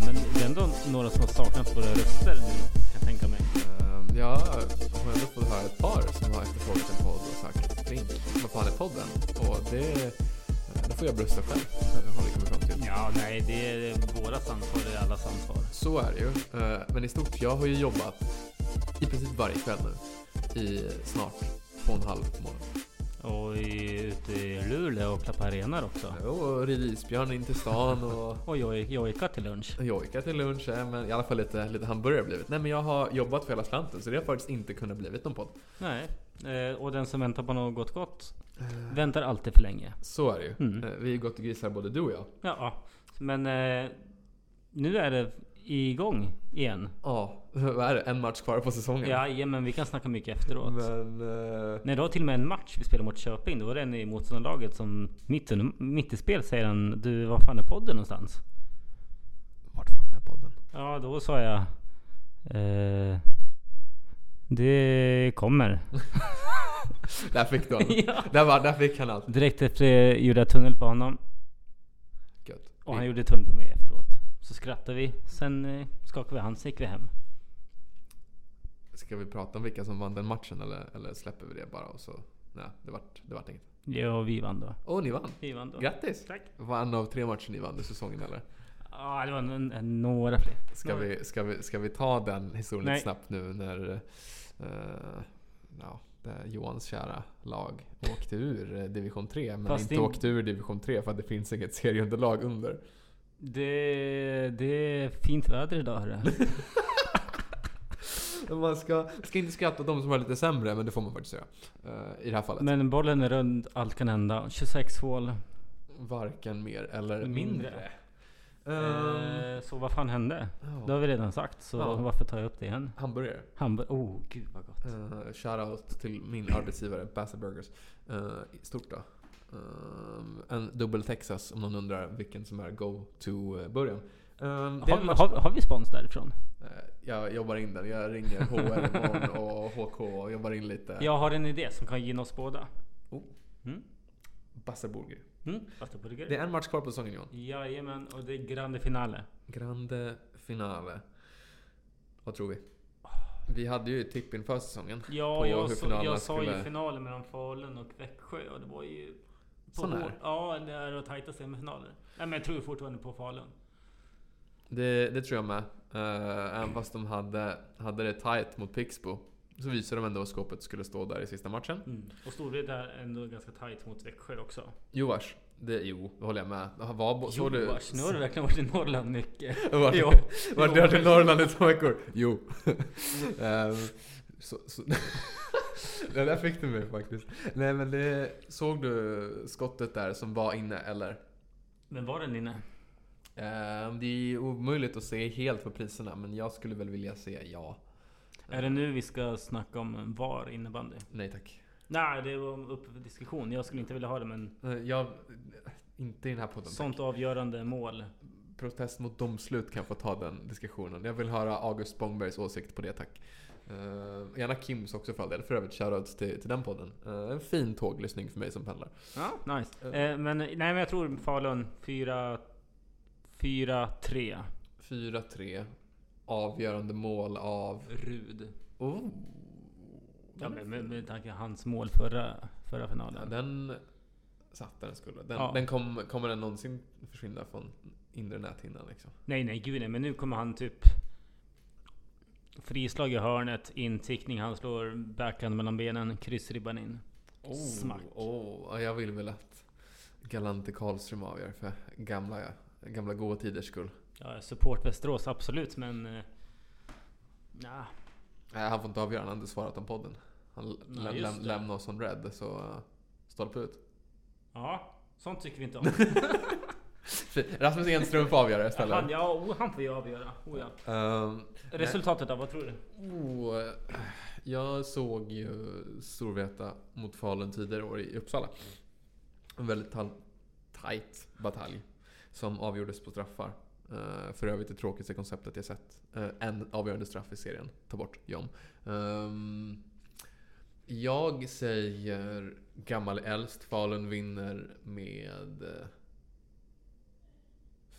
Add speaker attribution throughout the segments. Speaker 1: Men det är ändå några som har saknat våra röster nu, kan jag tänka mig.
Speaker 2: Ehm, Jag har ändå fått höra ett par som har efterfrågat en podd och sagt Flink, vad fan är podden? Och det, eh, det får jag brösta själv, eh, har vi kommit fram till.
Speaker 1: Ja, nej, det är våras ansvar, det är allas ansvar.
Speaker 2: Så är det ju. Eh, Men i stort, jag har ju jobbat i princip varje kväll nu i snart två och en halv månad.
Speaker 1: Och i, ute i Luleå och klappa arenor också.
Speaker 2: Jo, Och rider isbjörn in till stan och
Speaker 1: Och joj- jojka till lunch.
Speaker 2: jojka till lunch, eh, men i alla fall lite, lite hamburgare har blivit. Nej men jag har jobbat för hela slanten så det har faktiskt inte kunnat blivit någon podd.
Speaker 1: Nej, eh, och den som väntar på något gott
Speaker 2: Eh,
Speaker 1: väntar alltid för länge.
Speaker 2: Så är det ju.
Speaker 1: Mm.
Speaker 2: Eh, Vi har gått och grisar både du och jag.
Speaker 1: Ja, men eh, nu är det igång igen.
Speaker 2: Ja, vad är det? En match kvar på säsongen.
Speaker 1: Ja, ja, men vi kan snacka mycket efteråt.
Speaker 2: Men... eh,
Speaker 1: Nej, det var till och med en match vi spelade mot Köping. Då var det en i motståndarlaget som mitt, under- mitt i spel säger han Du, var fan är podden någonstans?
Speaker 2: Vart fan är podden?
Speaker 1: Ja, då sa jag eh, Det kommer.
Speaker 2: Där fick du allt.
Speaker 1: ja.
Speaker 2: där, var, där fick han allt.
Speaker 1: Direkt efter det gjorde jag tunnel på honom
Speaker 2: Gött.
Speaker 1: och han gjorde tunnel på mig efteråt. Så skrattade vi, sen eh, skakade vi hand, sen gick vi hem.
Speaker 2: Ska vi prata om vilka som vann den matchen eller, eller släpper vi det bara och så? Nej, det vart, det vart inget.
Speaker 1: Ja, och vi vann då.
Speaker 2: Åh, ni vann!
Speaker 1: Vi vann då.
Speaker 2: Grattis!
Speaker 1: Tack.
Speaker 2: Var en av tre matcher ni vann i säsongen eller?
Speaker 1: Ja, det var n- n- några fler.
Speaker 2: Ska,
Speaker 1: Några.
Speaker 2: vi, ska, vi, ska vi ta den historien
Speaker 1: Nej.
Speaker 2: lite snabbt nu när eh, ja, det- Johans kära lag åkte ur eh, division 3 men
Speaker 1: Fast
Speaker 2: inte
Speaker 1: det-
Speaker 2: åkte ur division 3 för att det finns inget serieunderlag under.
Speaker 1: Det, det är fint väder idag hörru.
Speaker 2: Men Man ska, ska inte skratta åt de som var lite sämre, men det får man faktiskt göra. eh, I det här fallet.
Speaker 1: Men bollen är rund, allt kan hända. 26 hål.
Speaker 2: Varken mer eller mindre.
Speaker 1: Mindre.
Speaker 2: Ehm,
Speaker 1: Eh, så vad fan hände?
Speaker 2: ja.
Speaker 1: Det har vi redan sagt, så
Speaker 2: Ja.
Speaker 1: varför tar jag upp det igen?
Speaker 2: Hamburgare.
Speaker 1: Hamburg... Oh, gud vad gott.
Speaker 2: Uh, Shoutout till min arbetsgivare, Bassett Burgers. Eh, stort då. Ehm, en dubbel Texas om någon undrar vilken som är go-to-burgaren. Ehm, det är
Speaker 1: Har,
Speaker 2: en
Speaker 1: vi-
Speaker 2: match-
Speaker 1: har, har vi spons därifrån?
Speaker 2: Eh, jag jobbar in den. Jag ringer HR imorgon och HK och jobbar in lite.
Speaker 1: Jag har en idé som kan gynna oss båda.
Speaker 2: Oh.
Speaker 1: Mm?
Speaker 2: Bassett Burger.
Speaker 1: Mm? Pasta-burgare?
Speaker 2: Det är en match kvar på säsongen Johan.
Speaker 1: Jajamän, och det är grande finale.
Speaker 2: Grande finale. Vad tror vi? Vi hade ju ett tipp inför säsongen.
Speaker 1: Ja,
Speaker 2: På
Speaker 1: jag,
Speaker 2: hur
Speaker 1: så,
Speaker 2: finalerna
Speaker 1: jag sa
Speaker 2: skulle-
Speaker 1: ju finalen mellan Falun och Växjö och det var ju... På
Speaker 2: Sån här.
Speaker 1: hår- Ja, det är att tajta semifinaler. Nej men jag tror ju fortfarande på Falun.
Speaker 2: Det, det tror jag med. Eh, även fast de hade, hade det tight mot Pixbo så visade de ändå att skåpet skulle stå där i sista matchen.
Speaker 1: Mm. Och Storvreta är ändå ganska tajt mot Växjö också.
Speaker 2: Joars, det, jo, det håller jag med. Var, såg du?
Speaker 1: Joars, nu har du verkligen varit i Norrland mycket.
Speaker 2: Var,
Speaker 1: Jo.
Speaker 2: var
Speaker 1: Jo.
Speaker 2: du varit i Norrland i två veckor? Jo. Ehm, så, så. det där fick du mig faktiskt. Nej men det, såg du skottet där som var inne eller?
Speaker 1: Men var den inne?
Speaker 2: Ehm, det är ju omöjligt att se helt på priserna, men jag skulle väl vilja se ja.
Speaker 1: Är det nu vi ska snacka om VAR innebandy?
Speaker 2: Nej tack.
Speaker 1: Nej, det var upp för diskussion. Jag skulle inte vilja ha det, men
Speaker 2: Eh, Jag, inte i den här podden.
Speaker 1: sånt avgörande mål.
Speaker 2: Protest mot domslut kan jag få ta den diskussionen. Jag vill höra August Spångbergs åsikt på det tack. Ehm, gärna Kims också för all del. För övrigt shoutouts till, till den podden. Eh, en fin tåglyssning för mig som pendlar.
Speaker 1: Ja, nice. Eh, men, nej, men jag tror Falun 4... 4-3.
Speaker 2: 4-3. Avgörande mål av...
Speaker 1: Rud.
Speaker 2: Oh.
Speaker 1: Ja, men med, med tanke på hans mål förra, förra
Speaker 2: Ja,
Speaker 1: finalen.
Speaker 2: den satt där den skulle. Den,
Speaker 1: Ja.
Speaker 2: den kom, kommer den någonsin försvinna från inre näthinnan liksom?
Speaker 1: Nej, nej, gud nej. Men nu kommer han typ... Frislag i hörnet, intickning, han slår backhand mellan benen, kryssribban in.
Speaker 2: Oh,
Speaker 1: Smack.
Speaker 2: Oh, ja, jag vill väl att Galante Karlström avgör för gamla, gamla goa tiders skull.
Speaker 1: Ja, support Västerås, absolut, men... Eh, nja.
Speaker 2: Nej, han får inte avgöra. Han har inte svarat om podden. Han lä-
Speaker 1: Nej,
Speaker 2: läm-
Speaker 1: just det.
Speaker 2: lämnar oss on red, så eh, stolpe ut.
Speaker 1: Ja, sånt tycker vi inte om.
Speaker 2: Rasmus Enström får avgöra istället.
Speaker 1: Han, ja, oh, han får ju avgöra. Oh, ja.
Speaker 2: Ehm,
Speaker 1: Resultatet då, vad tror du?
Speaker 2: oh, eh, jag såg ju Storvreta mot Falun tidigare i år i Uppsala. En väldigt tal- tight batalj som avgjordes på straffar. Eh, för övrigt det tråkigaste konceptet jag sett. Eh, en avgörande straff i serien. Ta bort John. Ehm, jag säger gammal äldst. Falun vinner med eh,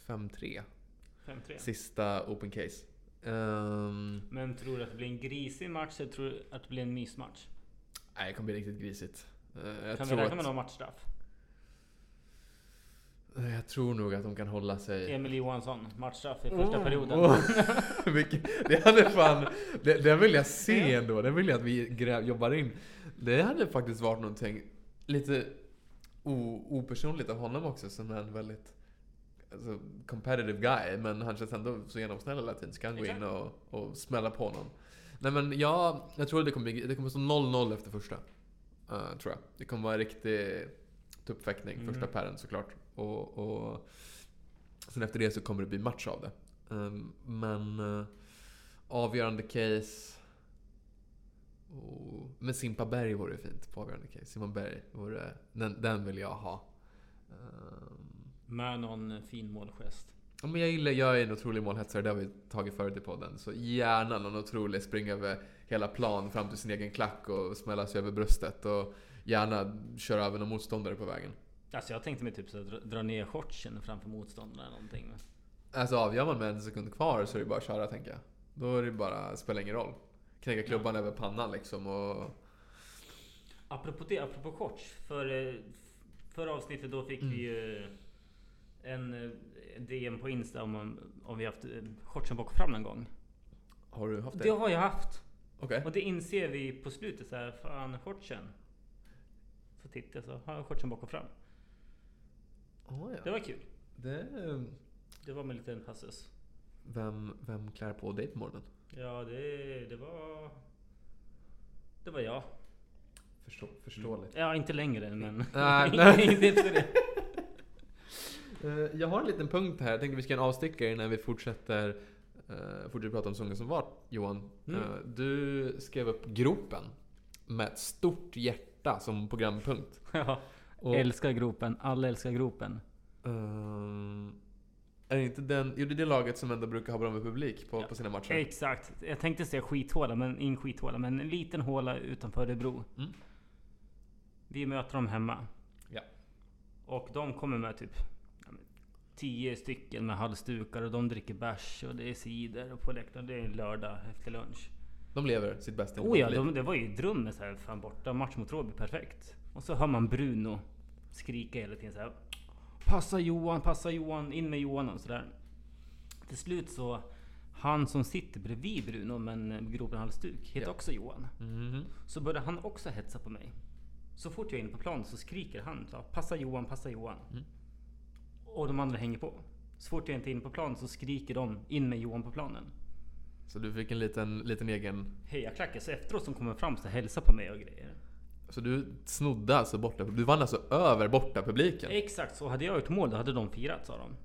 Speaker 2: 5-3.
Speaker 1: 5-3.
Speaker 2: Sista open case. Ehm,
Speaker 1: Men tror du att det blir en grisig match eller tror du att det blir en mysmatch?
Speaker 2: nej, det kommer bli riktigt grisigt. Eh, jag,
Speaker 1: kan vi
Speaker 2: tror
Speaker 1: räkna med
Speaker 2: att,
Speaker 1: någon matchstraff?
Speaker 2: eh, jag tror nog att de kan hålla sig...
Speaker 1: Emil Johansson, matchstraff i första
Speaker 2: Oh.
Speaker 1: perioden.
Speaker 2: Oh. Vilken- det hade fan... Det, den vill jag se ändå. Den vill jag att vi grä, jobbar in. Det hade faktiskt varit någonting lite o, opersonligt av honom också som är en väldigt alltså, competitive guy. Men han känns ändå så genomsnäll hela tiden så kan han gå in och, och smälla på någon. Nej men jag, jag tror det kommer, bli- det kommer stå 0-0 efter första. Eh, tror jag. Det kommer vara en riktig tuppfäktning
Speaker 1: Mm.
Speaker 2: första pären såklart. Och, och sen efter det så kommer det bli match av det. Ehm, men eh, avgörande case. Och, men Simpaberg vore fint på avgörande case. Simon Berg vore, den, den vill jag ha. Ehm,
Speaker 1: Med någon fin målgest.
Speaker 2: Ja, men jag, gillar, jag är en otrolig målhetsare, det har vi tagit förut i podden. Så gärna någon otrolig springa över hela plan fram till sin egen klack och smälla sig över bröstet. Och gärna köra över någon motståndare på vägen.
Speaker 1: Alltså jag tänkte mig typ så att dra- dra ner shortsen framför motståndaren eller någonting. men-
Speaker 2: Alltså avgör man med en sekund kvar så är det bara att köra tänker jag. Då är det bara, spelar ingen roll. Knäcka klubban över pannan liksom och...
Speaker 1: Apropå det, apropå shorts. För, eh, förra avsnittet då fick
Speaker 2: Mm.
Speaker 1: vi ju eh, en eh, DM på Insta om, om vi haft eh, shortsen bak och fram någon gång.
Speaker 2: Har du haft det? Eh?
Speaker 1: Det har jag haft.
Speaker 2: Okej.
Speaker 1: Och det inser vi på slutet så här, fan shortsen. Så tittar jag så har jag shortsen bak och fram.
Speaker 2: Åh,
Speaker 1: Det
Speaker 2: ja.
Speaker 1: var kul.
Speaker 2: det...
Speaker 1: Det var med en liten passus.
Speaker 2: Vem, vem klär på dig på morgonen?
Speaker 1: Ja, det, det var... Det var jag.
Speaker 2: Förstå, förståeligt.
Speaker 1: Ja, inte längre men...
Speaker 2: Nej, nej.
Speaker 1: inte efter det.
Speaker 2: Eh, Jag har en liten punkt här. Jag tänkte vi ska göra en avstickare innan vi fortsätter, eh, fortsätter prata om sången som vart, Johan.
Speaker 1: Mm.
Speaker 2: Eh, du skrev upp gropen med ett stort hjärta som programpunkt.
Speaker 1: Ja.
Speaker 2: Och,
Speaker 1: Älskar gropen. Alla älskar gropen.
Speaker 2: ehm, är det inte den, jo, det är det laget som ändå brukar ha bra med publik på,
Speaker 1: Ja.
Speaker 2: på sina matcher?
Speaker 1: Exakt. Jag tänkte säga skithåla, men ingen skithåla. Men en liten håla utanför Örebro.
Speaker 2: Mm.
Speaker 1: Vi möter dem hemma.
Speaker 2: Ja.
Speaker 1: Och de kommer med typ ja, men, tio stycken med halsdukar och de dricker bärs och det är cider och på läktaren. Det är en lördag efter lunch.
Speaker 2: De lever sitt bästa
Speaker 1: Oh ja,
Speaker 2: liv.
Speaker 1: de, det var ju drömmen så här, fan borta match mot Råby, perfekt. Och så hör man Bruno skrika hela tiden så här. Passa Johan, passa Johan, in med Johan och sådär. Till slut så, han som sitter bredvid Bruno men eh, gropen halsduk heter
Speaker 2: Ja.
Speaker 1: också Johan.
Speaker 2: Mhm.
Speaker 1: Så börjar han också hetsa på mig. Så fort jag är inne på plan så skriker han så, här, passa Johan, passa Johan.
Speaker 2: Mm.
Speaker 1: Och de andra hänger på. Så fort jag inte är inne på plan så skriker de in med Johan på planen.
Speaker 2: Så du fick en liten, liten egen...
Speaker 1: Hejaklackar, så efteråt som kommer fram så hälsar på mig och grejer.
Speaker 2: Så du snodde alltså borta, du vann alltså över borta publiken.
Speaker 1: Exakt så. Hade jag gjort mål då hade de firat sa de.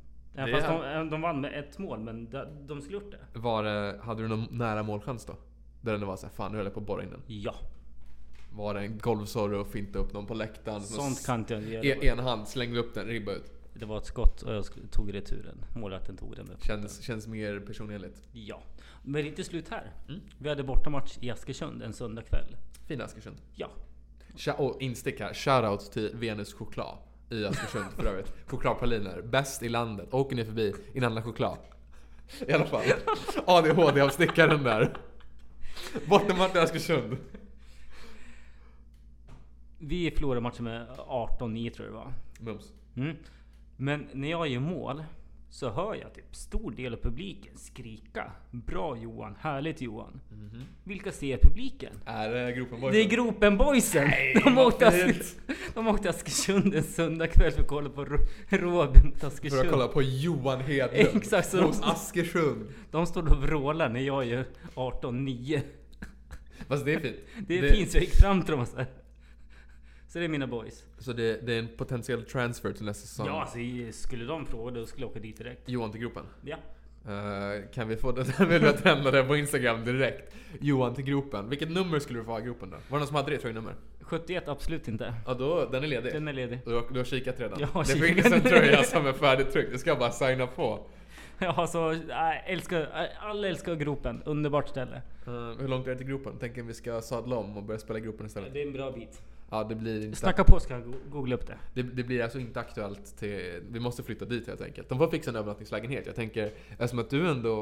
Speaker 1: Även
Speaker 2: Det
Speaker 1: fast de, de vann med ett mål, men de, de skulle gjort det.
Speaker 2: Var det, hade du någon nära målchans då? Där det var såhär, fan nu höll jag på att borra in den.
Speaker 1: Ja.
Speaker 2: Var det en golvsorre och finta upp någon på läktaren?
Speaker 1: Sånt kan inte jag
Speaker 2: en,
Speaker 1: göra.
Speaker 2: en hand, slängde upp den, ribba ut.
Speaker 1: Det var ett skott och jag sk- tog returen. Målvakten tog den med
Speaker 2: Känns, känns mer personligt.
Speaker 1: Ja. Men det är inte slut här.
Speaker 2: Mm.
Speaker 1: Vi hade bortamatch i Askersund en söndag kväll.
Speaker 2: Fin Askersund.
Speaker 1: Ja.
Speaker 2: Tja- Och instick här, shoutout till Venus choklad i Askersund för övrigt. Chokladpraliner, bäst i landet. Åker ni förbi, inhandla choklad. I alla fall. ADHD av stickaren där. Bortamatch i Askersund.
Speaker 1: Vi förlorade matchen med 18-9 tror jag det var.
Speaker 2: Mums.
Speaker 1: Mm. Men när jag gör mål så hör jag typ stor del av publiken skrika. Bra Johan, härligt Johan. Vilka ser publiken?
Speaker 2: Är det gropen
Speaker 1: Mhm.
Speaker 2: boys?
Speaker 1: Det är gropen boysen! de,
Speaker 2: vad
Speaker 1: åkte
Speaker 2: fint.
Speaker 1: de åkte Askersund en söndag kväll för att kolla på Ro- Råby mot
Speaker 2: För att
Speaker 1: Askersund.
Speaker 2: kolla på Johan Hedlund.
Speaker 1: Exakt, så de-
Speaker 2: Hos Askersund.
Speaker 1: De står och vrålar när jag gör 18-9.
Speaker 2: Fast det är fint.
Speaker 1: Det är fint så jag gick fram till dem och så här. Så det är mina boys.
Speaker 2: Så det, det är en potentiell transfer till nästa säsong?
Speaker 1: Ja, alltså, skulle de fråga då skulle jag åka dit direkt.
Speaker 2: Johan till gropen.
Speaker 1: Ja.
Speaker 2: Eh, kan vi få det? Den vill jag att lämna det på Instagram direkt. Johan till gropen. Vilket nummer skulle du få ha i gropen då? Var det någon som hade det tröjnummer?
Speaker 1: 71 absolut inte.
Speaker 2: Ja, då, den är ledig.
Speaker 1: Den är ledig.
Speaker 2: Du, har, du har kikat redan?
Speaker 1: Jag har
Speaker 2: det
Speaker 1: kikat.
Speaker 2: finns en tröja som är färdigtryckt. Du ska bara signa på.
Speaker 1: Ja, så äh, älskar, äh, alla älskar gropen. Underbart ställe.
Speaker 2: Eh, hur långt är det till gropen? Tänker vi ska sadla om och börja spela i gropen istället.
Speaker 1: Det är en bra bit.
Speaker 2: Ja, det blir inte...
Speaker 1: Snacka på ska jag go- googla upp det.
Speaker 2: Det, det blir alltså inte aktuellt till... Vi måste flytta dit helt enkelt. De får fixa en övernattningslägenhet. Jag tänker, eftersom att du ändå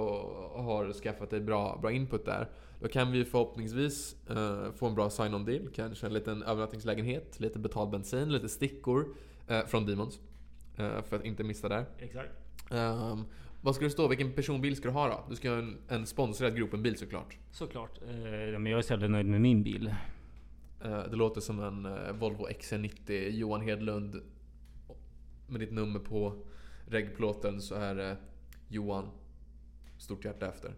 Speaker 2: har skaffat dig bra, bra input där. Då kan vi förhoppningsvis eh, få en bra sign-on deal. Kanske en liten övernattningslägenhet, lite betald bensin, lite stickor eh, från Demons. Eh, för att inte missa där.
Speaker 1: Exakt.
Speaker 2: Ehm, vad ska det stå? Vilken personbil ska du ha då? Du ska ha en, en sponsrad Gropen-bil såklart.
Speaker 1: Såklart. Eh, men jag är så jävla nöjd med min bil.
Speaker 2: Eh, det låter som en eh, Volvo XC90 Johan Hedlund. Med ditt nummer på reggplåten så är det Johan. Stort hjärta efter.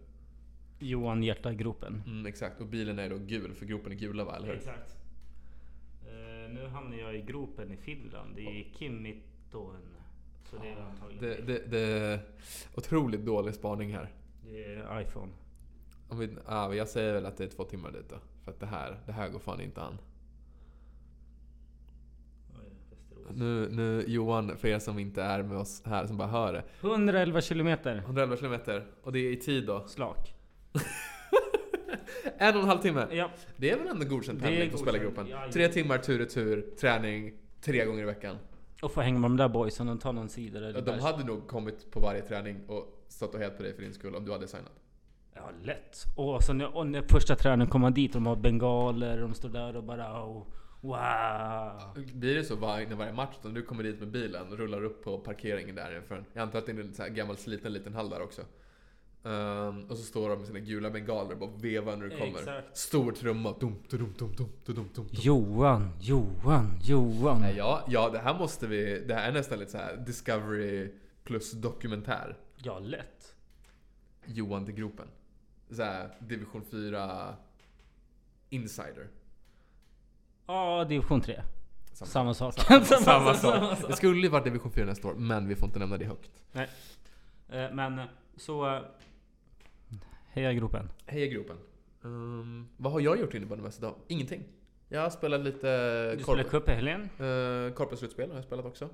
Speaker 1: Johan Hjärta Gropen.
Speaker 2: Mm, exakt. Och bilen är då gul, för gropen är gula va, eller hur?
Speaker 1: Exakt. Eh, nu hamnar jag i gropen i Finland. I Kimmitoen. Så det är antagligen...
Speaker 2: Ah, Det, det, det är otroligt dålig spaning här.
Speaker 1: det är iPhone.
Speaker 2: Om vi, ah, jag säger väl att det är två timmar dit då. För att det här, det här går fan inte an. Nu, nu Johan, för er som inte är med oss här, som bara hör det.
Speaker 1: 111 kilometer.
Speaker 2: 111 kilometer. Och det är i tid då.
Speaker 1: Slak.
Speaker 2: En och en halv timme.
Speaker 1: Ja.
Speaker 2: Det är väl ändå godkänt
Speaker 1: Det är
Speaker 2: pendling på
Speaker 1: godkänt.
Speaker 2: spelargruppen?
Speaker 1: Ja, ja.
Speaker 2: Tre timmar tur och tur, träning, tre gånger i veckan.
Speaker 1: Och få hänga med de där boysen. De tar någon sida. Eller
Speaker 2: De
Speaker 1: där.
Speaker 2: hade nog kommit på varje träning och stått och hejat på dig för din skull om du hade signat.
Speaker 1: Ja, lätt. Och så när, och när första tränaren kommer dit. De har bengaler. De står där och bara... Oh, wow.
Speaker 2: Blir det så var, när varje match, om du kommer dit med bilen och rullar upp på parkeringen där för en, Jag antar att det är en så här gammal sliten liten hall där också. Ehm, och så står de med sina gula bengaler och bara vevar när du kommer.
Speaker 1: Exakt.
Speaker 2: Stor trumma. Dum, dum, dum, dum, dum, dum, dum.
Speaker 1: Johan, Johan, Johan.
Speaker 2: Nej, Ja, ja, det här måste vi... Det här är nästan lite så här Discovery plus dokumentär.
Speaker 1: Ja, lätt.
Speaker 2: Johan till gropen. Så här, division 4 insider.
Speaker 1: Ja, division 3.
Speaker 2: Samma-
Speaker 1: Samma sak.
Speaker 2: Samma sak. Det skulle ju varit division 4 nästa år, men vi får inte nämna det högt.
Speaker 1: Eh, Men så... eh, Heja gropen.
Speaker 2: Heja gropen. Ehm, vad har jag gjort innebandymässigt då? Ingenting. Jag har spelat lite
Speaker 1: Du spelar
Speaker 2: korp-
Speaker 1: cup i helgen.
Speaker 2: uh, korpenslutspel har jag spelat också.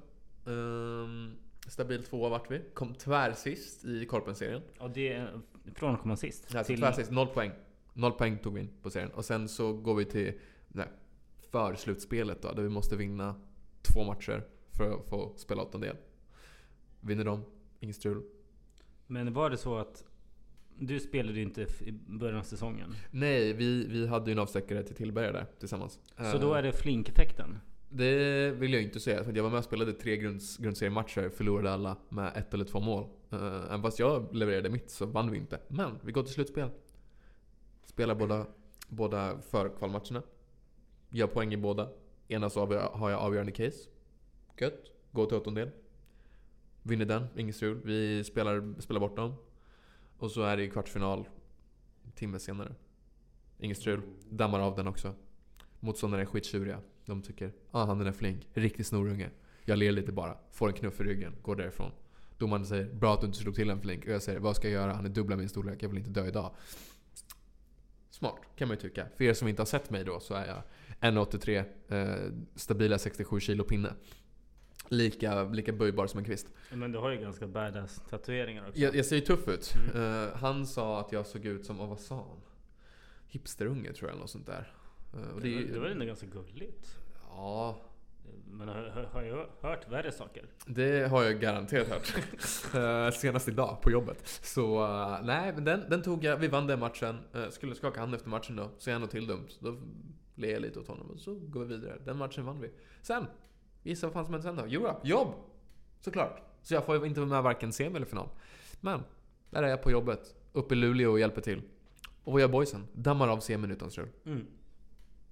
Speaker 2: Ehm, stabil tvåa vart vi. Kom tvärsist i korpenserien.
Speaker 1: Och det är från att komma sist.
Speaker 2: Alltså
Speaker 1: till-
Speaker 2: tvärsist, noll poäng. Noll poäng tog vi in på serien. Och sen så går vi till nej, förslutspelet då, där vi måste vinna två matcher för att få spela åttondel. Vinner de, inget strul.
Speaker 1: Men var det så att du spelade ju inte f- i början av säsongen?
Speaker 2: Nej, vi, vi hade ju en avstäckare till Tillberga där tillsammans.
Speaker 1: Så då
Speaker 2: Eh,
Speaker 1: är det flinkeffekten?
Speaker 2: Det vill jag inte säga. för Jag var med och spelade tre grunds, grundseriematcher, förlorade alla med ett eller två mål. Eh, Även fast jag levererade mitt så vann vi inte. Men vi går till slutspel. Spelar båda, båda förkvalmatcherna. Gör poäng i båda. Ena så avgör- har jag avgörande case. Gött. Går till åttondel. Vinner den, inget strul. Vi spelar, spelar bort dem. Och så är det kvartsfinal en timme senare. Inget strul. Dammar av den också. Motståndarna är skittjuriga. De tycker ah, han är där flink, riktig snorunge. Jag ler lite bara, får en knuff i ryggen, går därifrån. Domaren säger bra att du inte slog till en flink. Och jag säger vad ska jag göra? Han är dubbla min storlek, jag vill inte dö idag. Smart, kan man ju tycka. För er som inte har sett mig då så är jag 1,83 eh, stabila 67 kilo pinne. Lika, lika böjbar som en kvist.
Speaker 1: Men du har ju ganska badass tatueringar också.
Speaker 2: Jag, jag ser ju tuff ut.
Speaker 1: Mm.
Speaker 2: Eh, han sa att jag såg ut som, oh, vad sa han? Hipsterunge tror jag eller något sånt där. Eh, och det, är
Speaker 1: det,
Speaker 2: ju-
Speaker 1: var, det var ändå ganska gulligt.
Speaker 2: Ja,
Speaker 1: Men har, har, har jag hört värre saker?
Speaker 2: Det har jag garanterat hört. Eh, Senast idag på jobbet. Så eh, nej, men den, den tog jag. Vi vann den matchen. Eh, Skulle skaka hand efter matchen då. Så jag något till dumt. Då ler jag lite åt honom och så går vi vidare. Den matchen vann vi. Sen, gissa vad fan som hände sen då? Jo då, jobb! Såklart. Så jag får ju inte vara med varken semi eller final. Men, där är jag på jobbet. Uppe i Luleå och hjälper till. Och vad gör boysen? Dammar av semin utan strul.
Speaker 1: Mm.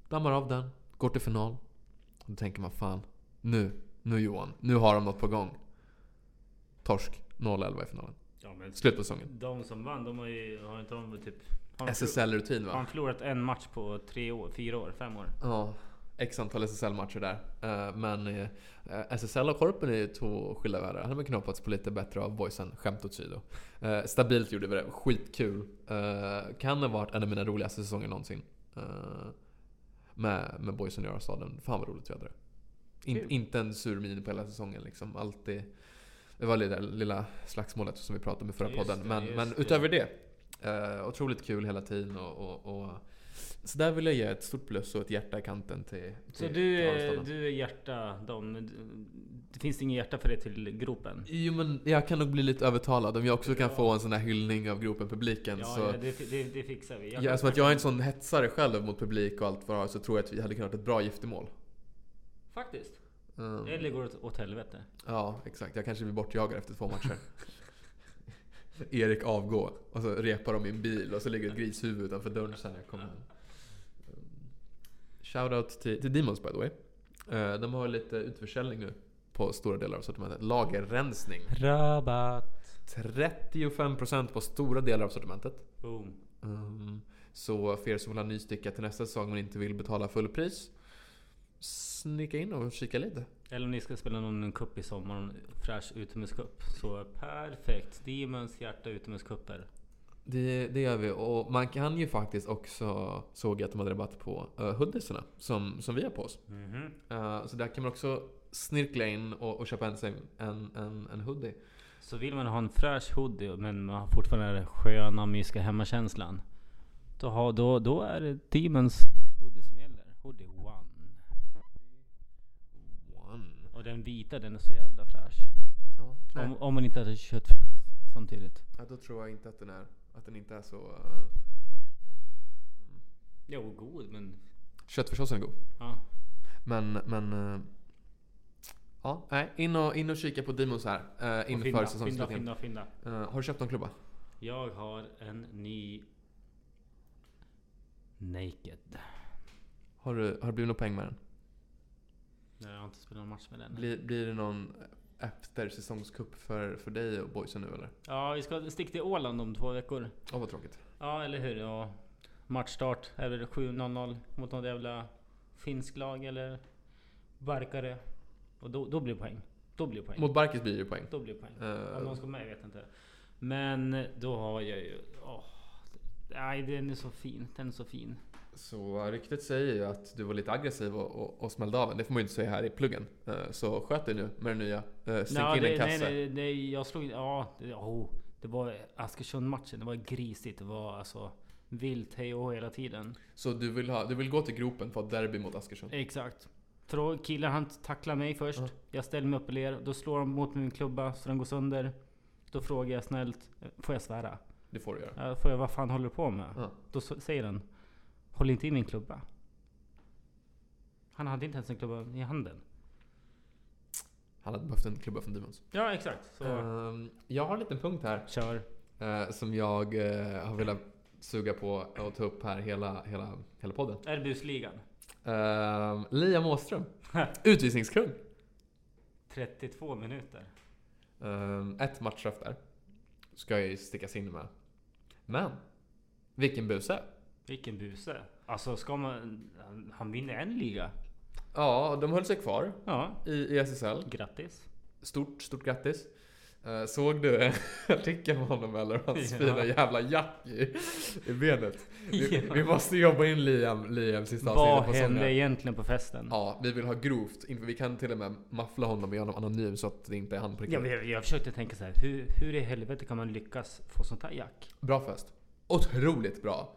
Speaker 2: Dammar av den, går till final. Och då tänker man fan, nu, nu Johan, nu har de något på gång. Torsk, 0-11 i finalen.
Speaker 1: Ja, men
Speaker 2: Slut på säsongen.
Speaker 1: de som vann, de har ju... Har inte de typ... har de
Speaker 2: SSL-rutin
Speaker 1: förlo-
Speaker 2: va?
Speaker 1: Har de förlorat en match på tre år, fyra år, fem år?
Speaker 2: Ja, x antal SSL-matcher där. Eh, Men eh, SSL och Korpen är ju två skilda världar. Hade man knoppats på lite bättre av boysen, skämt åsido. Eh, Stabilt gjorde vi det, skitkul. Eh, Kan ha varit en av mina roligaste säsonger någonsin. Eh, Med, med boysen i Örestaden. Fan vad roligt vi hade det. In,
Speaker 1: Kul.
Speaker 2: inte en sur min på hela säsongen liksom. Alltid. Det var det där lilla slagsmålet som vi pratade om i förra
Speaker 1: Just
Speaker 2: podden.
Speaker 1: det,
Speaker 2: Men,
Speaker 1: just
Speaker 2: men
Speaker 1: det.
Speaker 2: utöver det. eh, otroligt kul hela tiden och, och, och Så där vill jag ge ett stort plus och ett hjärta i kanten till, till
Speaker 1: Så du,
Speaker 2: till
Speaker 1: är-
Speaker 2: Alstallen.
Speaker 1: du är hjärta de... Det finns inget hjärta för dig till gropen?
Speaker 2: Jo men jag kan nog bli lite övertalad om jag också kan få en sån här hyllning av Gropen-publiken.
Speaker 1: Ja,
Speaker 2: så...
Speaker 1: ja det, det, det fixar vi.
Speaker 2: Ja, eftersom att jag är en sån hetsare själv mot publik och allt vad jag har så tror jag att vi hade kunnat ha ett bra giftermål.
Speaker 1: Faktiskt.
Speaker 2: Mm.
Speaker 1: Eller går åt, åt helvete.
Speaker 2: Ja, exakt. Jag kanske blir bortjagad efter två matcher. Erik avgå och så repar de min bil och så ligger ett grishuvud utanför dörren sen när jag kommer hem. Um, Shoutout till, till Demons by the way. Eh, De har lite utförsäljning nu på stora delar av sortimentet. Lagerrensning.
Speaker 1: Rabatt.
Speaker 2: 35% på stora delar av sortimentet.
Speaker 1: Boom.
Speaker 2: Ehm, så för er som vill ha ny sticka till nästa säsong men inte vill betala fullpris. Snicka in och kika lite.
Speaker 1: Eller om ni ska spela någon cup i sommar, någon fräsch utomhuscup. Så perfekt. Demons hjärta utomhuscuper.
Speaker 2: Det, det gör vi. Och man kan ju faktiskt också, såg jag att de hade rabatt på, uh, hoodiesarna som, som vi har på oss.
Speaker 1: Mhm.
Speaker 2: Eh, så där kan man också snirkla in och, och köpa en, sig- en, en, en hoodie.
Speaker 1: Så vill man ha en fräsch hoodie men man har fortfarande den sköna mysiga hemmakänslan. Då, har, då, då är det Demons hoodie som gäller. Hoodie One.
Speaker 2: One.
Speaker 1: Och den vita den är så jävla fräsch.
Speaker 2: Ja, nej.
Speaker 1: Om, om man inte hade köttfärssås samtidigt.
Speaker 2: Ja, då tror jag inte att den är, att den inte är så... Uh...
Speaker 1: Jo, god men...
Speaker 2: Köttfärssåsen är god.
Speaker 1: Ja.
Speaker 2: Men, men... eh, Ja, nej. In och, in och kika på Demons här. eh,
Speaker 1: Och fynda,
Speaker 2: inför
Speaker 1: fynda,
Speaker 2: säsongsslutningen.
Speaker 1: fynda, fynda.
Speaker 2: Eh, har du köpt någon klubba?
Speaker 1: Jag har en ny... Naked.
Speaker 2: Har du, har du blivit någon poäng med den?
Speaker 1: Nej, jag har inte spelat någon match med den.
Speaker 2: Blir, blir det någon efter säsongscup för, för dig och boysen nu eller?
Speaker 1: Ja, vi ska sticka till Åland om två veckor.
Speaker 2: Åh vad tråkigt.
Speaker 1: Ja, eller hur? Ja. Matchstart är väl 7-0-0 mot något jävla finsk lag eller barkare. Och då, då blir det poäng. Då blir det poäng.
Speaker 2: Mot Barkis blir det ju poäng.
Speaker 1: Då blir det poäng.
Speaker 2: Eh,
Speaker 1: Om någon ska med, jag vet inte. Men då har jag ju... Åh, nej, den är så fin. Den är så fin.
Speaker 2: så ryktet säger ju att du var lite aggressiv och, och, och smällde av en. Det får man ju inte säga här i pluggen. Eh, så sköt dig nu med den nya. Uh, Stick
Speaker 1: Ja,
Speaker 2: in en
Speaker 1: det, nej,
Speaker 2: kasse.
Speaker 1: nej, nej, jag slog... Ja, det, oh, det var Askersund-matchen. Det var grisigt. Det var alltså vilt hej och hå hela tiden.
Speaker 2: Så du vill, ha, du vill gå till gropen för att ha derby mot Askersund?
Speaker 1: Exakt. Trå- Killen han tacklar mig först.
Speaker 2: Ja.
Speaker 1: Jag ställer mig upp och ler. Då slår han mot min klubba så den går sönder. Då frågar jag snällt. Får jag svära?
Speaker 2: Det får du göra.
Speaker 1: Ja, Får jag, vad fan håller du på med?
Speaker 2: Ja.
Speaker 1: Då så- säger han. Håll inte i min klubba. Han hade inte ens en klubba i handen.
Speaker 2: Han hade behövt en klubba från Demons.
Speaker 1: Ja exakt. Så
Speaker 2: Ehm, jag har en liten punkt här.
Speaker 1: kör.
Speaker 2: eh, som jag eh, har velat suga på och ta upp här hela, hela, hela podden.
Speaker 1: Är det busligan?
Speaker 2: Ehm, Liam Åström. Utvisningskung.
Speaker 1: 32 minuter.
Speaker 2: Ehm, ett matchstraff där. Ska jag ju stickas in med. Men. Vilken buse.
Speaker 1: Vilken buse. Alltså ska man... Han, han vinner en liga.
Speaker 2: Ja, de höll sig kvar
Speaker 1: Ja.
Speaker 2: i, i SSL.
Speaker 1: Grattis.
Speaker 2: Stort, stort grattis. Eh, såg du artikeln om honom eller? Hans
Speaker 1: Ja.
Speaker 2: fina jävla jack i, i benet. Vi,
Speaker 1: Ja.
Speaker 2: vi måste jobba in Liam, Liam sista
Speaker 1: Vad
Speaker 2: avsnittet på
Speaker 1: hände
Speaker 2: säsongen.
Speaker 1: egentligen på festen?
Speaker 2: Ja, vi vill ha grovt. inför- Vi kan till och med maffla honom och göra honom anonym så att det inte är han på riktigt.
Speaker 1: Ja, men jag, jag försökte tänka så här. Hur, hur i helvete kan man lyckas få sånt här jack?
Speaker 2: Bra fest. Otroligt bra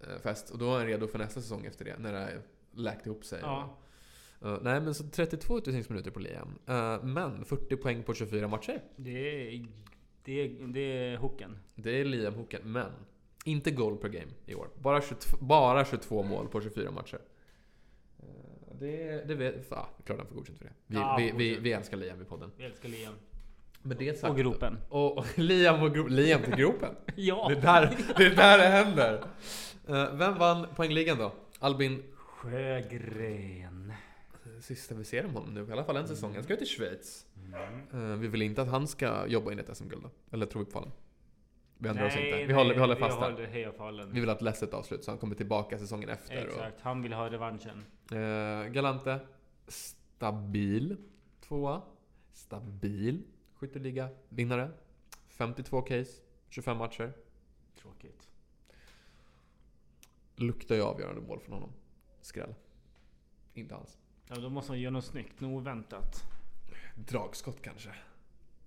Speaker 2: eh, fest. Och då är han redo för nästa säsong efter det. När det är läkt ihop sig.
Speaker 1: Ja.
Speaker 2: Eh, nej men så 32 utvisningsminuter på Liam. Eh, men 40 poäng på 24 matcher.
Speaker 1: Det är, det är, det är hooken.
Speaker 2: Det är Liam Hoken. Men inte goal per game i år. Bara 22, bara 22 mål på 24 matcher. Eh, Det, det vet... Ja, klart han får godkänt för det. Vi,
Speaker 1: Ja,
Speaker 2: vi, vi,
Speaker 1: godkänt.
Speaker 2: vi älskar Liam i podden.
Speaker 1: Vi älskar Liam.
Speaker 2: Men det sagt,
Speaker 1: Och gropen.
Speaker 2: Och, och Liam och gro, Liam till gropen.
Speaker 1: Ja!
Speaker 2: Det är där det, är där det händer. Eh, Vem vann poängligan då? Albin
Speaker 1: Sjögren.
Speaker 2: Sista vi ser om honom nu, i alla fall
Speaker 1: Mm.
Speaker 2: en säsong. Han ska ju till Schweiz. Eh, Vi vill inte att han ska jobba in ett SM-guld då. Eller tror vi på Falun. Vi ändrar oss inte. Vi, håller, vi håller fast
Speaker 1: vi
Speaker 2: där.
Speaker 1: håller Heja Falun.
Speaker 2: Vi vill att Lesset avslut så han kommer tillbaka säsongen efter.
Speaker 1: Exakt. Han vill ha revanschen.
Speaker 2: Och, eh, Galante. Stabil. Tvåa. Stabil. Skytteliga. Vinnare. 52 case. 25 matcher.
Speaker 1: Tråkigt.
Speaker 2: Luktar ju avgörande mål från honom. Skräll. Inte alls.
Speaker 1: Ja, då måste man göra något snyggt. Något oväntat.
Speaker 2: Dragskott kanske.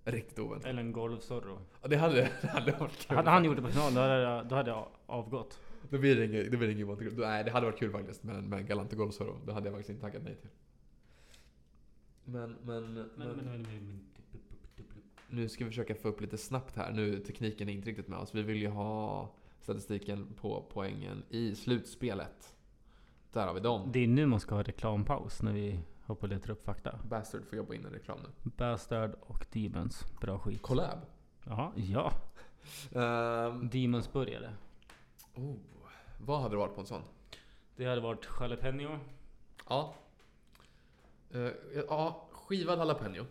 Speaker 2: Riktigt oväntat.
Speaker 1: Eller en golfsorro.
Speaker 2: Ja, Det hade, det hade varit kul.
Speaker 1: Hade han gjort det på final, då hade jag, då hade jag avgått.
Speaker 2: Då blir det ingen, då blir det ingen Monte Carlo. Då- Nej, det hade varit kul faktiskt med, med Galantegol så då. Det hade jag faktiskt inte tackat nej till. Men, men, men,
Speaker 1: Men, men, men, men, typ-
Speaker 2: Nu ska vi försöka få upp lite snabbt här. Nu tekniken är inte riktigt med oss. Vi vill ju ha statistiken på poängen i slutspelet. Där har vi dem.
Speaker 1: Det är nu man ska ha reklampaus när vi håller på och letar upp fakta.
Speaker 2: Bastard får jobba in en reklam nu.
Speaker 1: Bastard och Demons. Bra skit.
Speaker 2: Collab.
Speaker 1: Jaha, ja.
Speaker 2: Ehm,
Speaker 1: Demons började.
Speaker 2: oh, vad hade det varit på en sån?
Speaker 1: Det hade varit jalapeno.
Speaker 2: Ja. Eh, ja, skivad jalapeno.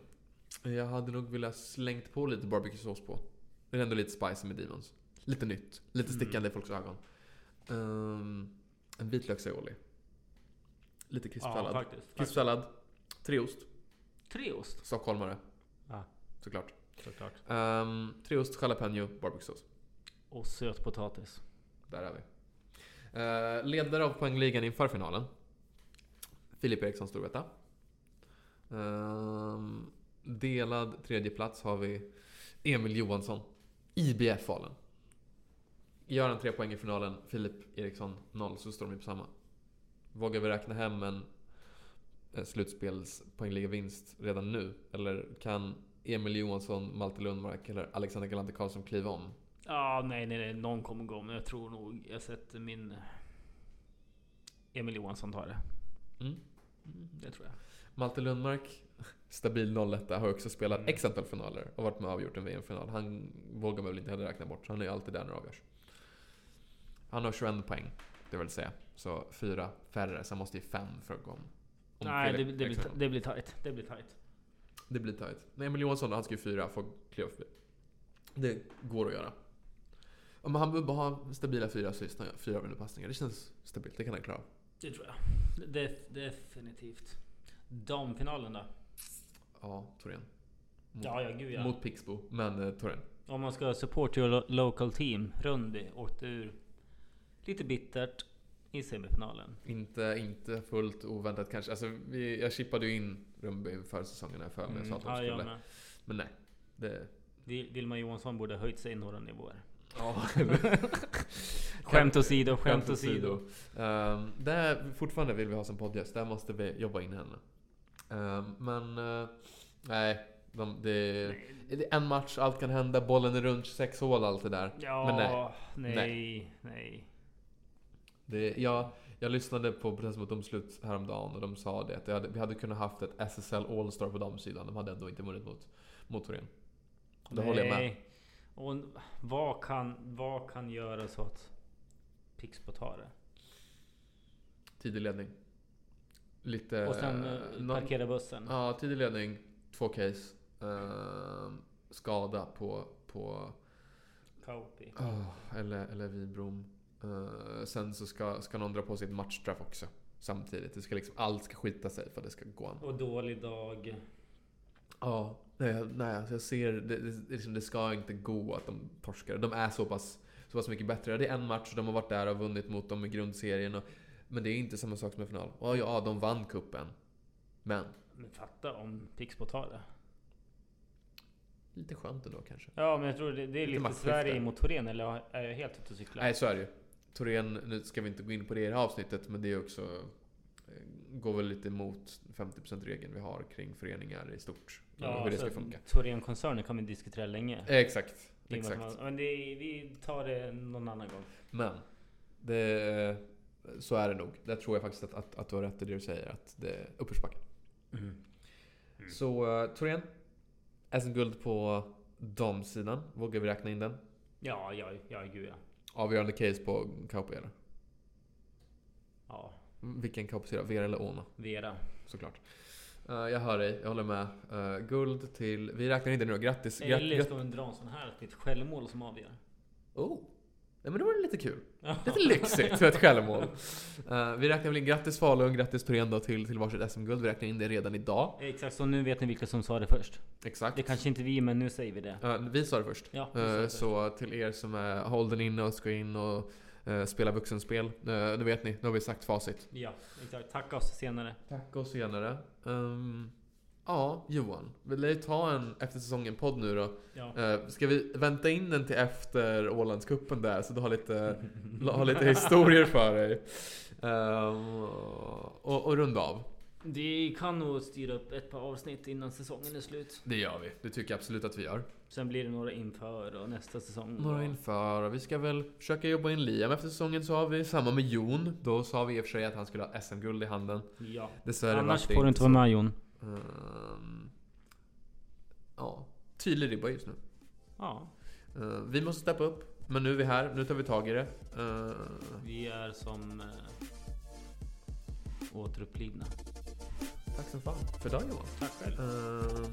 Speaker 2: Jag hade nog velat slängt på lite barbecuesås på. Det är ändå lite spicy med Demons. Lite nytt. Lite
Speaker 1: Mm.
Speaker 2: stickande i folks ögon. Ehm, en vitlöksaioli. Lite
Speaker 1: Ja,
Speaker 2: krispsallad.
Speaker 1: faktiskt. faktiskt.
Speaker 2: krispsallad. Tre ost.
Speaker 1: Tre ost.
Speaker 2: Stockholmare.
Speaker 1: Ja.
Speaker 2: Såklart.
Speaker 1: Såklart.
Speaker 2: Um, tre ost, jalapeno, barbecuesås.
Speaker 1: Och sötpotatis.
Speaker 2: Där är vi. Eh, ledare av poängligan inför finalen. Filip Eriksson Storvreta. Ehm, delad tredje plats har vi Emil Johansson. IBF Falun. Gör han tre poäng i finalen, Filip Eriksson noll, så står de ju på samma. Vågar vi räkna hem en eh, slutspelspoängligavinst redan nu? Eller kan Emil Johansson, Malte Lundmark eller Alexander Galante Karlsson kliva om?
Speaker 1: Ja, nej, nej, nej. Någon kommer gå. Men jag tror nog... Jag sätter min... Emil Johansson tar det.
Speaker 2: Mm.
Speaker 1: Det tror jag.
Speaker 2: Malte Lundmark, stabil 01 har också spelat
Speaker 1: Mm.
Speaker 2: x antal finaler och varit med och avgjort en VM-final. Han vågar man väl inte heller räkna bort, så han är ju alltid där när det avgörs. Han har 21 poäng, det vill säga. Så fyra färre, så han måste ju fem för att gå om. om
Speaker 1: nej, det,
Speaker 2: Felix
Speaker 1: det, blir,
Speaker 2: Eriksson.
Speaker 1: ta- det blir tight. Det blir tight.
Speaker 2: det blir tajt. Nej, Emil Johansson, han ska ju fyra, får kliva förbi. Det går att göra. Ja, Men han behöver bara ha stabila fyra assist, han gör fyra överpassningar. Det känns stabilt, det kan han klara av.
Speaker 1: Det tror jag. Det, definitivt. Damfinalen då?
Speaker 2: Ja, Torén. Mot,
Speaker 1: Ja, ja, gud ja.
Speaker 2: mot Pixbo, men eh, Torén.
Speaker 1: Om man ska support your lo- local team. Rönnby åkte ur lite bittert i semifinalen.
Speaker 2: Inte, inte fullt oväntat kanske. Alltså, vi, jag chippade ju in Rönnby inför säsongen här för mig. Jag sa att de
Speaker 1: Mm, ja, jag
Speaker 2: skulle.
Speaker 1: med.
Speaker 2: men nej. Det,
Speaker 1: Vil- Vilma Johansson borde ha höjt sig några nivåer.
Speaker 2: ja.
Speaker 1: Skämt åsido, skämt
Speaker 2: Skämt
Speaker 1: åsido.
Speaker 2: åsido. Um, där fortfarande vill vi ha som poddgäst. Där måste vi jobba in henne. Ehm, men eh, nej. De, det, det är en match, allt kan hända. Bollen är runt, sex hål, allt det där.
Speaker 1: Ja,
Speaker 2: Men
Speaker 1: nej, nej.
Speaker 2: Det, jag, jag lyssnade på Press mot domslut häromdagen och de sa det att det hade, vi hade kunnat haft ett SSL All-Star på damsidan. De hade ändå inte vunnit mot, mot Torén. Det håller jag med.
Speaker 1: Nej. Och n- vad kan, vad kan göra så att Pixbo tar det?
Speaker 2: Tidig ledning. Lite...
Speaker 1: Och sen eh,
Speaker 2: eh, någon-
Speaker 1: parkera bussen.
Speaker 2: Ja, tidig ledning. Två case. Ehm, skada på... på
Speaker 1: Kauppi.
Speaker 2: ah, eller, eller Vibrom. Eh, sen så ska, ska någon dra på sig ett matchstraff också. Samtidigt. Det ska liksom, allt ska skita sig för att det ska gå an.
Speaker 1: Och dålig dag.
Speaker 2: Ja, nej, jag- nej alltså jag ser det, det, det, liksom, det ska inte gå att de torskar. De är så pass, så pass mycket bättre. Det är en match och de har varit där och vunnit mot dem i grundserien. Och, men det är inte samma sak som en final. Och ja, de vann kuppen Men
Speaker 1: Men fatta om Pixbo tar det.
Speaker 2: lite skönt ändå kanske.
Speaker 1: Ja, men jag tror det, det är
Speaker 2: Lite
Speaker 1: lite
Speaker 2: maktskifte.
Speaker 1: Sverige mot Torén, eller har- är jag helt ute och cyklar?
Speaker 2: Nej, så är det ju. Torén, nu ska vi inte gå in på det i det här avsnittet, men det är också eh, går väl lite emot 50%-regeln vi har kring föreningar i stort. och hur det
Speaker 1: så
Speaker 2: ska
Speaker 1: att
Speaker 2: funka.
Speaker 1: Torén-koncernen kan vi diskutera länge.
Speaker 2: Eh, Exakt.
Speaker 1: I och med att
Speaker 2: exakt.
Speaker 1: Man, men alltså, mm. det, vi tar det någon annan gång.
Speaker 2: Men det, så är det nog. Där tror jag faktiskt att, att, att du har rätt i det du säger. Att det är uppförsbacke.
Speaker 1: Mm.
Speaker 2: Så uh, Torén. SM-guld på damsidan. Vågar vi räkna in den?
Speaker 1: Ja, ja, ja, gud ja.
Speaker 2: Avgörande case på Kauppi eller?
Speaker 1: ja.
Speaker 2: Vilken Kauppi sida? Vera eller Ona?
Speaker 1: Vera.
Speaker 2: Såklart. Eh, jag hör dig. Jag håller med. Eh, guld till... Vi räknar inte nu. Grattis. Grat,
Speaker 1: Eller
Speaker 2: grat,
Speaker 1: ska man dra en sån här att det är ett självmål som avgör?
Speaker 2: oh. Nej men det var lite kul. Lite lyxigt för ett självmål. Eh, vi räknar väl in grattis Falun, grattis Torén då till, till varsitt SM-guld. Vi räknar in det redan idag.
Speaker 1: Exakt, så nu vet ni vilka som sa det först.
Speaker 2: Exakt.
Speaker 1: Det kanske inte vi, men nu säger vi det.
Speaker 2: Ja, vi sa det först.
Speaker 1: Ja,
Speaker 2: Eh,
Speaker 1: vi sa det.
Speaker 2: så till er som är, håll den inne och ska in och eh, spela vuxenspel. Eh, nu vet ni, nu har vi sagt facit.
Speaker 1: Ja, exakt. Tacka oss senare.
Speaker 2: Tack och senare. Ehm, Ja, Ja, Johan. Vi lär ju ta en efter säsongen-podd nu då.
Speaker 1: Ja.
Speaker 2: Eh, Ska vi vänta in den till efter Ålandskuppen där så du har lite, har lite historier för dig? Ehm, och, och runda av.
Speaker 1: Vi kan nog styra upp ett par avsnitt innan säsongen är slut.
Speaker 2: Det gör vi. Det tycker jag absolut att vi gör.
Speaker 1: Sen blir det några inför och nästa säsong.
Speaker 2: Några inför. Vi ska väl försöka jobba in Liam efter säsongen så har vi. Samma med Jon. Då sa vi i och för sig att han skulle ha SM-guld i handen.
Speaker 1: Ja.
Speaker 2: Dessvärre vart
Speaker 1: Annars
Speaker 2: det
Speaker 1: får du inte vara med Jon.
Speaker 2: så. Ehm, ja, tydlig ribba just nu.
Speaker 1: Ja.
Speaker 2: Eh, vi måste steppa upp. Men nu är vi här. Nu tar vi tag i det. Eh,
Speaker 1: Vi är som eh, återupplivna.
Speaker 2: tack så fan för idag Johan.
Speaker 1: Tack själv.
Speaker 2: Ehm,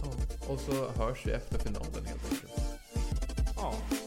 Speaker 2: ja. Och så hörs vi efter finalen helt enkelt.
Speaker 1: Ja. eh,